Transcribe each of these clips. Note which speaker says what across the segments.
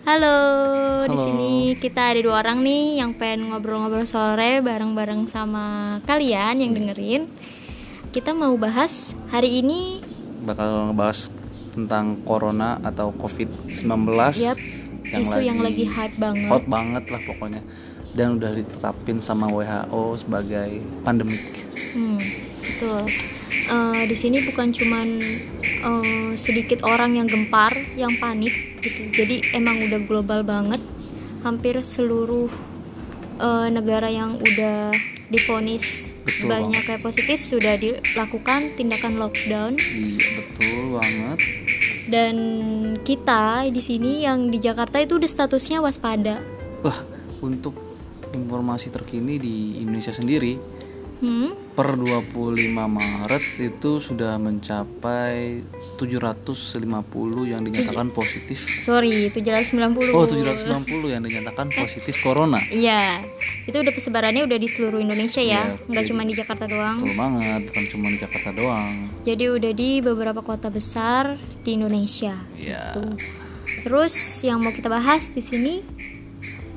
Speaker 1: Halo, di
Speaker 2: Halo.
Speaker 1: sini kita ada dua orang nih yang pengen ngobrol-ngobrol sore bareng-bareng sama kalian yang dengerin. Kita mau bahas hari ini
Speaker 2: bakal ngebahas tentang corona atau covid-19
Speaker 1: Yap, isu yang lagi hype banget.
Speaker 2: hot banget lah pokoknya dan udah ditetapin sama WHO sebagai pandemik
Speaker 1: Hmm, betul. Eh, di sini bukan cuman eh, sedikit orang yang gempar, yang panik gitu. Jadi emang udah global banget. Hampir seluruh eh, negara yang udah difonis
Speaker 2: Betul
Speaker 1: banyak kayak positif sudah dilakukan tindakan lockdown
Speaker 2: iya betul banget
Speaker 1: dan kita di sini yang di Jakarta itu udah statusnya waspada.
Speaker 2: wah untuk informasi terkini di Indonesia sendiri
Speaker 1: Hmm,
Speaker 2: per 25 Maret itu sudah mencapai 750 yang dinyatakan positif
Speaker 1: sorry 790.
Speaker 2: oh 790 yang dinyatakan positif corona
Speaker 1: Iya, itu udah persebarannya udah di seluruh Indonesia ya,
Speaker 2: Iya,
Speaker 1: nggak
Speaker 2: jadi-
Speaker 1: cuma di Jakarta doang.
Speaker 2: betul banget bukan cuma di Jakarta doang
Speaker 1: Jadi udah di beberapa kota besar di Indonesia.
Speaker 2: Ya,
Speaker 1: Tuh. Terus yang mau kita bahas di sini,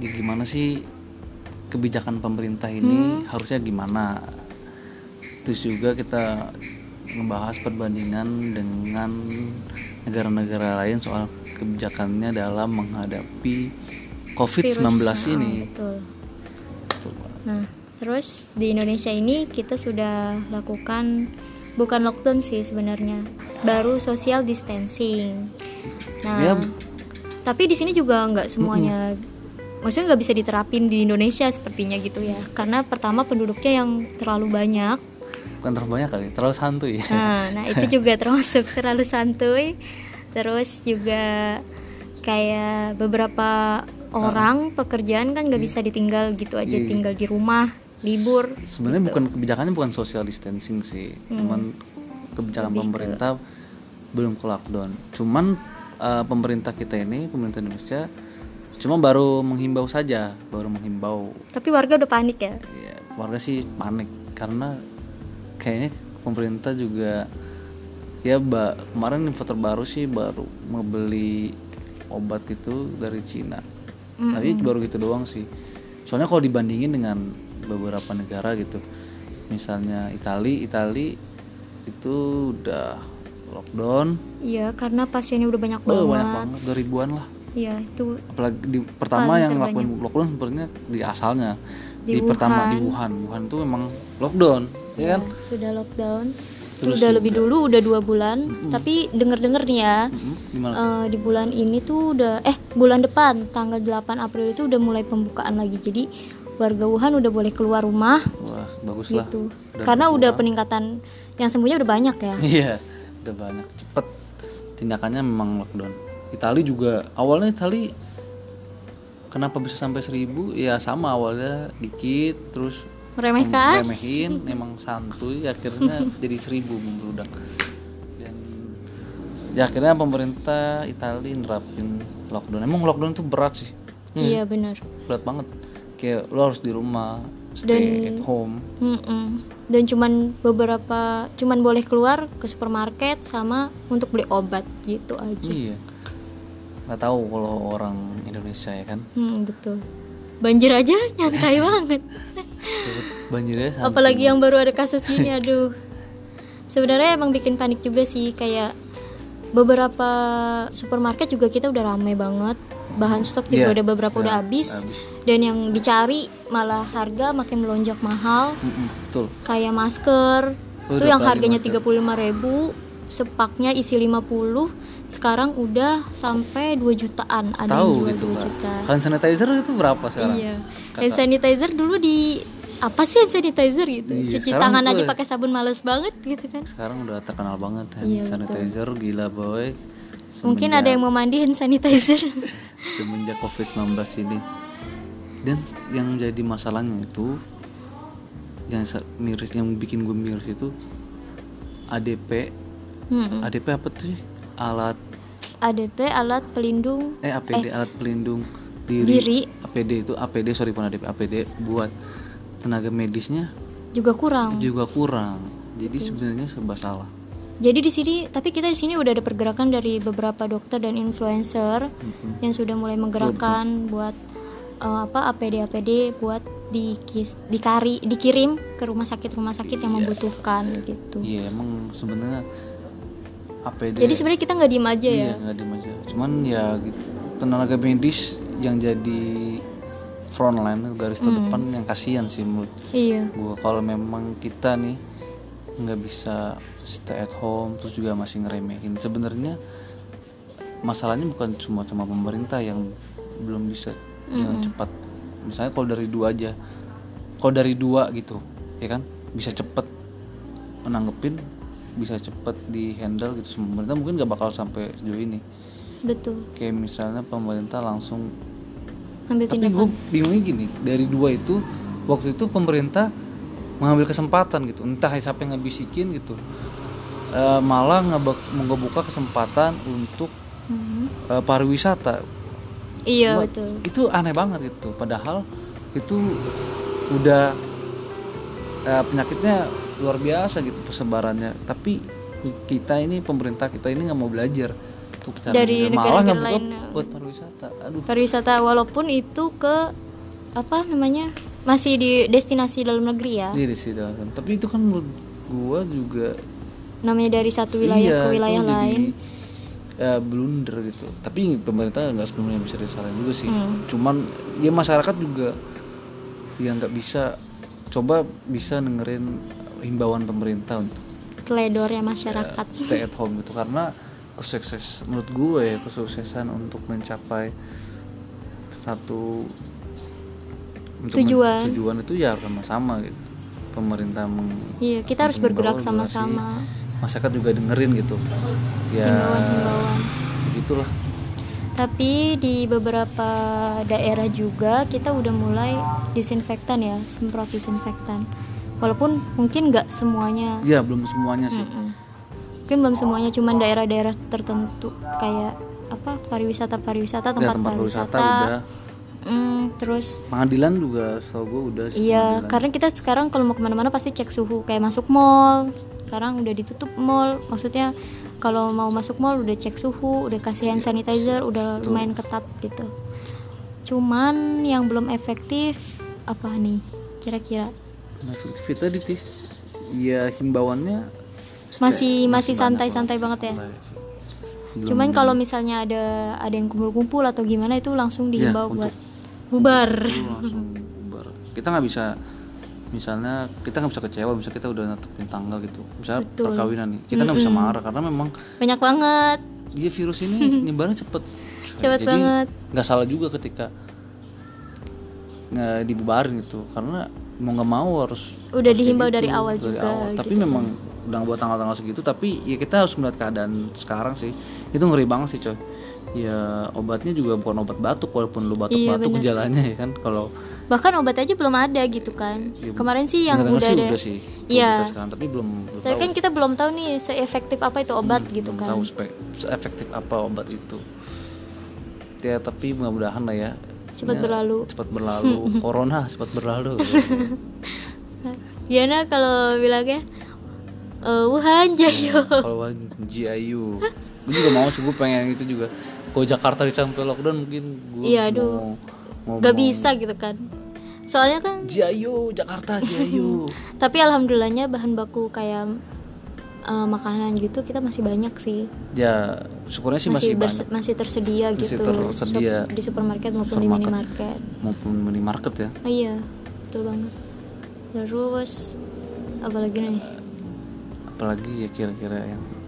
Speaker 2: ya gimana sih kebijakan pemerintah ini harusnya gimana? Terus juga kita ngebahas perbandingan dengan negara-negara lain soal kebijakannya dalam menghadapi COVID-19
Speaker 1: virus. Ah,
Speaker 2: ini.
Speaker 1: betul.
Speaker 2: Betul banget.
Speaker 1: Nah, terus di Indonesia ini kita sudah lakukan bukan lockdown sih sebenarnya, baru social distancing. Nah,
Speaker 2: Ya.
Speaker 1: tapi di sini juga nggak semuanya, maksudnya nggak bisa diterapin di Indonesia sepertinya gitu ya, karena pertama penduduknya yang terlalu banyak.
Speaker 2: Bukan terlalu banyak kali, terlalu santuy.
Speaker 1: Nah, nah itu juga termasuk terlalu santuy. Terus juga kayak
Speaker 2: Ah.
Speaker 1: beberapa orang pekerjaan kan nggak bisa ditinggal gitu aja,
Speaker 2: Iya.
Speaker 1: tinggal di rumah, libur.
Speaker 2: Sebenarnya bukan kebijakannya bukan social distancing sih, cuman kebijakan pemerintah belum ke lockdown. Cuman eh, pemerintah kita ini, pemerintah Indonesia cuma baru menghimbau saja, baru menghimbau.
Speaker 1: Tapi warga udah panik ya.
Speaker 2: Ya, warga sih panik karena kayaknya pemerintah juga ya ba- kemarin info terbaru sih baru membeli obat gitu dari Cina. Tapi baru gitu doang sih. Soalnya kalau dibandingin dengan beberapa negara gitu. Misalnya Itali, Itali itu udah lockdown
Speaker 1: Iya, karena pasiennya udah banyak
Speaker 2: oh,
Speaker 1: banget.
Speaker 2: banyak banget, udah ribuan lah.
Speaker 1: Iya, itu
Speaker 2: Apalagi di pertama yang ngelakuin lockdown sebenarnya di asalnya
Speaker 1: Di
Speaker 2: di, pertama di Wuhan. Wuhan itu memang lockdown, ya kan?
Speaker 1: ya, sudah lockdown. Itu udah lebih dulu udah dua bulan, tapi denger-denger nih ya.
Speaker 2: Mm, Gimana?
Speaker 1: Eh, di bulan ini tuh udah eh bulan depan tanggal 8 April itu udah mulai pembukaan lagi. Jadi warga Wuhan udah boleh keluar rumah
Speaker 2: Wah, bagus lah.
Speaker 1: gitu. Karena udah peningkatan yang sembuhnya udah banyak ya.
Speaker 2: Iya, udah banyak cepet tindakannya memang lockdown. Itali juga awalnya Itali kenapa bisa sampai seribu? Ya sama awalnya dikit, terus
Speaker 1: Meremehkan.
Speaker 2: remehin, emang santuy, akhirnya jadi seribu membludak. Dan ya akhirnya pemerintah Itali nerapin lockdown. Emang lockdown itu berat sih,
Speaker 1: Iya benar.
Speaker 2: berat banget. Kayak lo harus di rumah, stay at home.
Speaker 1: Mm-mm. Dan cuman beberapa cuman boleh keluar ke supermarket sama untuk beli obat gitu aja.
Speaker 2: Iya. Nggak tahu kalau orang Indonesia ya kan.
Speaker 1: Hmm, betul. Banjir aja nyantai banget.
Speaker 2: Banjirnya santai.
Speaker 1: Apalagi yang baru ada kasus gini, aduh. Sebenarnya emang bikin panik juga sih kayak beberapa supermarket juga kita udah rame banget. Bahan stok juga
Speaker 2: Iya,
Speaker 1: udah beberapa
Speaker 2: iya,
Speaker 1: udah habis
Speaker 2: habis.
Speaker 1: dan yang dicari malah harga makin melonjak mahal.
Speaker 2: Mm-mm, betul.
Speaker 1: kayak masker
Speaker 2: Oh,
Speaker 1: itu yang
Speaker 2: udah
Speaker 1: harganya
Speaker 2: kali masker.
Speaker 1: 35.000 sepaknya isi 50 sekarang udah sampai 2 jutaan ada
Speaker 2: Tahu
Speaker 1: yang jual
Speaker 2: gitu
Speaker 1: 2
Speaker 2: kan.
Speaker 1: juta
Speaker 2: Hand sanitizer itu berapa sekarang?
Speaker 1: iya hand
Speaker 2: Kakak.
Speaker 1: sanitizer dulu di apa sih hand sanitizer gitu
Speaker 2: Iya,
Speaker 1: cuci
Speaker 2: sekarang
Speaker 1: tangan aja
Speaker 2: boleh.
Speaker 1: pakai sabun males banget gitu kan
Speaker 2: Sekarang udah terkenal banget hand
Speaker 1: Iya, betul.
Speaker 2: sanitizer gila boy.
Speaker 1: mungkin ada yang mau mandi hand sanitizer
Speaker 2: semenjak Covid-19 ini. Dan yang jadi masalahnya itu yang sa- miris yang bikin gue miris itu ADP.
Speaker 1: hmm.
Speaker 2: ADP apa tuh? sih? Alat
Speaker 1: ADP alat pelindung
Speaker 2: eh APD alat pelindung diri.
Speaker 1: diri
Speaker 2: APD itu APD sorry bukan ADP APD buat tenaga medisnya
Speaker 1: juga kurang
Speaker 2: juga kurang jadi sebenarnya serba salah
Speaker 1: Jadi di sini, tapi kita di sini udah ada pergerakan dari beberapa dokter dan influencer yang sudah mulai menggerakkan buat eh, apa APD APD buat dikis, dikari, dikirim ke rumah sakit rumah sakit yang membutuhkan gitu.
Speaker 2: Iya emang sebenarnya APD.
Speaker 1: Jadi sebenarnya kita nggak diem aja
Speaker 2: iya,
Speaker 1: ya.
Speaker 2: nggak diem aja. Cuman ya gitu, tenaga medis yang jadi frontline garis terdepan
Speaker 1: Mm.
Speaker 2: yang kasihan sih menurut
Speaker 1: Iya.
Speaker 2: gua kalau memang kita nih nggak bisa stay at home terus juga masih ngeremehin sebenarnya masalahnya bukan cuma sama pemerintah yang belum bisa dengan cepat misalnya kalau dari dua aja kalau dari dua gitu ya kan bisa cepet menanggepin bisa cepet di handle gitu sama pemerintah mungkin nggak bakal sampai sejauh ini
Speaker 1: Betul.
Speaker 2: kayak misalnya pemerintah langsung
Speaker 1: Ambil
Speaker 2: tapi
Speaker 1: tindakan.
Speaker 2: gue bingungnya gini dari dua itu waktu itu pemerintah mengambil kesempatan gitu entah siapa yang ngebisikin gitu Eh, malah ngebe- ngebuka kesempatan untuk
Speaker 1: Mhm.
Speaker 2: eh, pariwisata
Speaker 1: Iya
Speaker 2: Gua-
Speaker 1: betul.
Speaker 2: itu aneh banget gitu padahal itu udah eh, penyakitnya luar biasa gitu persebarannya tapi kita ini pemerintah kita ini nggak mau belajar untuk cara
Speaker 1: Dari
Speaker 2: belajar. malah
Speaker 1: negara-negara
Speaker 2: ngebuka
Speaker 1: lain. ya.
Speaker 2: buat pariwisata aduh
Speaker 1: Pariwisata walaupun itu ke apa namanya masih di destinasi dalam negeri ya.
Speaker 2: Iya sih Tapi itu kan menurut gua juga
Speaker 1: Namanya dari satu wilayah
Speaker 2: iya,
Speaker 1: ke
Speaker 2: itu
Speaker 1: wilayah
Speaker 2: jadi,
Speaker 1: lain.
Speaker 2: eh, blunder gitu. Tapi pemerintah nggak sepenuhnya bisa disalahin juga sih.
Speaker 1: Hmm.
Speaker 2: Cuman ya masyarakat juga yang nggak bisa coba bisa dengerin himbauan pemerintah untuk
Speaker 1: Teledornya masyarakat.
Speaker 2: stay at home gitu karena kesukses menurut gue ya kesuksesan untuk mencapai satu untuk men-
Speaker 1: Tujuan.
Speaker 2: tujuan itu ya sama-sama gitu pemerintah meng-
Speaker 1: Iya, kita harus bergerak
Speaker 2: Himbauan, durasi.
Speaker 1: sama-sama.
Speaker 2: iya masyarakat juga dengerin gitu ya
Speaker 1: Himbauan-himbauan.
Speaker 2: begitulah
Speaker 1: Tapi di beberapa daerah juga kita udah mulai disinfektan ya, semprot disinfektan. Walaupun mungkin nggak semuanya,
Speaker 2: ya belum semuanya sih
Speaker 1: Mm-mm. mungkin belum semuanya, cuman daerah-daerah tertentu kayak apa pariwisata pariwisata
Speaker 2: ya
Speaker 1: tempat,
Speaker 2: tempat
Speaker 1: pariwisata,
Speaker 2: wisata udah
Speaker 1: Mm, terus
Speaker 2: pengadilan juga setahu gue udah sih
Speaker 1: Iya,
Speaker 2: pengadilan.
Speaker 1: karena kita sekarang kalau mau kemana-mana pasti cek suhu. Kayak masuk mall, sekarang udah ditutup mall. Maksudnya kalau mau masuk mall udah cek suhu, udah kasih hand sanitizer, udah
Speaker 2: Iya, betul.
Speaker 1: lumayan ketat gitu. Cuman yang belum efektif apa nih? Kira-kira
Speaker 2: nah Vita di Tis, ya himbauannya stay-
Speaker 1: masih masih
Speaker 2: banyak
Speaker 1: santai-santai
Speaker 2: lah.
Speaker 1: banget ya.
Speaker 2: Santai sih. Belum-
Speaker 1: Cuman kalau misalnya ada ada yang kumpul-kumpul atau gimana itu langsung
Speaker 2: Iya,
Speaker 1: dihimbau
Speaker 2: untuk-
Speaker 1: buat bubar.
Speaker 2: Lu langsung bubar. kita nggak bisa misalnya kita nggak bisa kecewa misalnya kita udah netepin tanggal gitu misalnya
Speaker 1: Betul.
Speaker 2: perkawinan nih kita nggak bisa
Speaker 1: Mm-mm.
Speaker 2: marah karena memang
Speaker 1: Banyak banget.
Speaker 2: dia Iya, virus ini nyebarnya cepet
Speaker 1: Cepet
Speaker 2: jadi
Speaker 1: banget.
Speaker 2: nggak salah juga ketika nge- dibubarin gitu karena mau nggak mau harus
Speaker 1: Udah
Speaker 2: harus kayak
Speaker 1: dihimbau dari awal juga, gitu.
Speaker 2: tapi memang udah buat tanggal-tanggal segitu tapi ya kita harus melihat keadaan sekarang sih itu ngeri banget sih coy ya obatnya juga bukan obat batuk walaupun lu
Speaker 1: Iya,
Speaker 2: batuk-batuk
Speaker 1: bener.
Speaker 2: gejalanya ya kan kalau
Speaker 1: Bahkan obat aja belum ada gitu kan.
Speaker 2: ya,
Speaker 1: Kemarin sih yang
Speaker 2: dengar-dengar
Speaker 1: udah ada.
Speaker 2: sih sih
Speaker 1: Iya.
Speaker 2: Kita sekarang tapi belum belum
Speaker 1: Tapi
Speaker 2: tahu. Hmm,
Speaker 1: kan kita belum tahu nih seefektif apa itu obat gitu
Speaker 2: belum
Speaker 1: kan.
Speaker 2: tahu spe- efektif apa obat itu ya tapi mudah-mudahan lah ya
Speaker 1: Cepat
Speaker 2: Ya,
Speaker 1: berlalu.
Speaker 2: cepat berlalu corona cepat berlalu
Speaker 1: Diana kalau bilangnya eh, Wuhan Jayo.
Speaker 2: kalau GIU gue juga mau sih gue pengen itu juga kalau Jakarta dicampur lockdown mungkin gue
Speaker 1: Iya,
Speaker 2: mau
Speaker 1: aduh.
Speaker 2: ngomong
Speaker 1: Gak bisa gitu kan. Soalnya kan
Speaker 2: GIU Jakarta GIU
Speaker 1: tapi alhamdulillahnya bahan baku kayak eh, makanan gitu kita masih banyak sih.
Speaker 2: ya syukurnya sih
Speaker 1: Masih
Speaker 2: masih, banyak
Speaker 1: berse- masih tersedia
Speaker 2: Masih
Speaker 1: gitu.
Speaker 2: tersedia.
Speaker 1: Sup- di supermarket maupun di
Speaker 2: Supermarket.
Speaker 1: minimarket.
Speaker 2: maupun minimarket ya
Speaker 1: Oh iya, betul banget. Terus apalagi nih?
Speaker 2: apalagi ya kira-kira yang